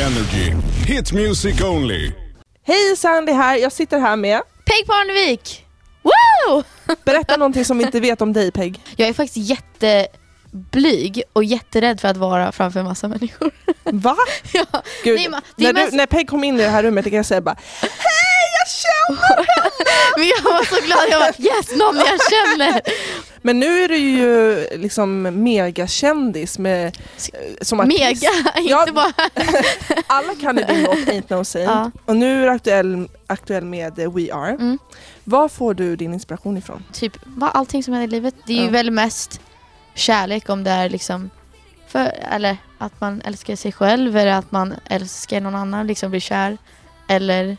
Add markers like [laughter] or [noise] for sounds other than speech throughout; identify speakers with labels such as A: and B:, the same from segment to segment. A: Energy. Hit music only.
B: Hej Sandy här, jag sitter här med.
C: Peg Parnevik! Woo!
B: Berätta någonting som vi inte vet om dig Peg.
C: Jag är faktiskt jätteblyg och jätterädd för att vara framför massa människor. [laughs]
B: Va?
C: ja.
B: Gud,
C: Nej, men det
B: när,
C: är
B: du,
C: mest,
B: när Peg kom in i det här rummet, det kan jag säga bara Hej jag känner!
C: men jag var så glad, jag var yes, någon jag
B: [laughs]
C: känner.
B: Men nu är du ju liksom megakändis med, eh, som artist.
C: Mega,
B: Ja. Mm.
C: inte bara...
B: [laughs] Alla kan ju din låt Ain't No Saint
C: Ja.
B: och nu är du aktuell, aktuell med eh, We Are.
C: Mm.
B: Var får du din inspiration ifrån?
C: typ vad, allting som händer i livet. Det är ju
B: Ja.
C: väl mest kärlek om det är liksom för, eller att man älskar sig själv eller att man älskar någon annan, liksom blir kär eller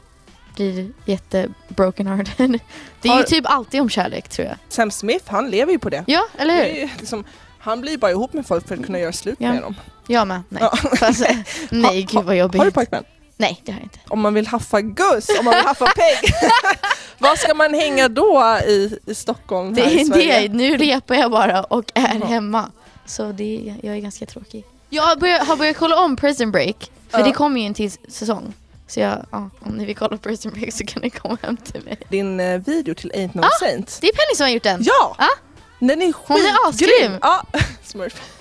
C: blir jätte broken hearted. [laughs] Det är
B: Har-
C: ju typ alltid om kärlek tror jag.
B: Sam Smith, han lever ju på det.
C: Ja, eller
B: det är
C: hur?
B: ju liksom, han blir bara ihop med folk för att kunna göra slut
C: Ja.
B: med dem.
C: Jag med. Nej,
B: Ja.
C: Fast, [laughs] nej
B: Ha-
C: gud vad jobbigt.
B: Har du pojkvän?
C: Nej, det har jag inte.
B: om man vill haffa Gus, om man vill haffa
C: [laughs]
B: Peg. Var ska man hänga då i, i Stockholm?
C: Det
B: här i
C: är
B: Sverige?
C: det. Nu repar jag bara och är
B: Ja.
C: hemma. Så det är, jag är ganska tråkig. Jag har börjat, har börjat kolla om Prison Break. För
B: Ja.
C: det kommer ju en till säsong. Så jag, ja, om ni vill kolla på Prison Break så kan ni komma hem till mig.
B: Din eh, video till Ain't No Saint.
C: Det är Penny som har gjort den.
B: Ja!
C: Ja.
B: Den är
C: Ah. Hon är
B: skitgrym!
C: asgrym.
B: Ja, [laughs] smurf.
C: [laughs]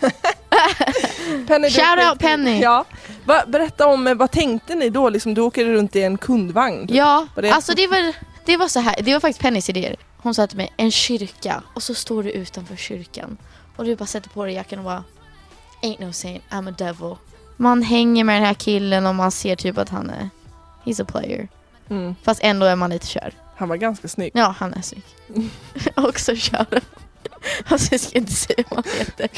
B: Penny, du är
C: Shout out
B: skitgrym.
C: Penny.
B: Ja. Va, berätta om, eh, vad tänkte ni då? Liksom, du åker runt i en kundvagn.
C: Ja,
B: Var det-
C: alltså det var, det var så här. Det var faktiskt Pennys idéer. Hon sa till mig, en kyrka och så står du utanför kyrkan. Och du bara sätter på dig jackan och bara, ain't no saint, I'm a devil. Man hänger med den här killen och man ser typ att han är, he's a player.
B: Mm.
C: Fast ändå är man lite kär.
B: Han var ganska snygg.
C: Ja, han är snygg. [laughs] Också kär. [laughs] Alltså jag ska inte säga vad han heter.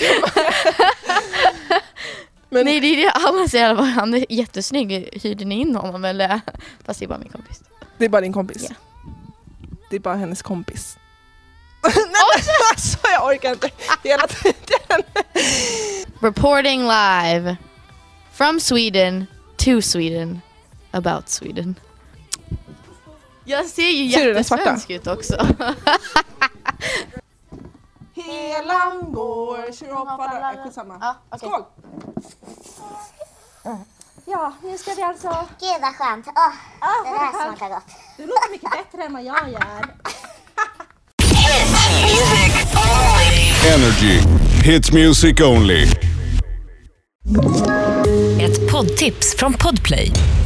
B: Men-
C: Nej det är det alla säger, alla bara, han är jättesnygg, hyrde ni in honom eller? Fast det är bara min kompis.
B: Det är bara din kompis.
C: Ja.
B: Det är bara hennes kompis.
C: Ah.
B: [laughs] Nej men alltså jag orkar inte hela tiden.
C: Reporting live from Sweden to Sweden about Sweden. Jag ser ju
B: Ser du den svarta?
C: jättesvensk ut också.
B: Helan går, tjurhoppar... Äh, Skitsamma. Skål!
D: Ja, nu ska vi alltså...
E: Gud vad skönt. Åh,
D: Ah,
E: det där smakar gott.
D: det låter mycket bättre än vad jag gör.
A: Energy. Hit music only.
F: Ett poddtips från Podplay.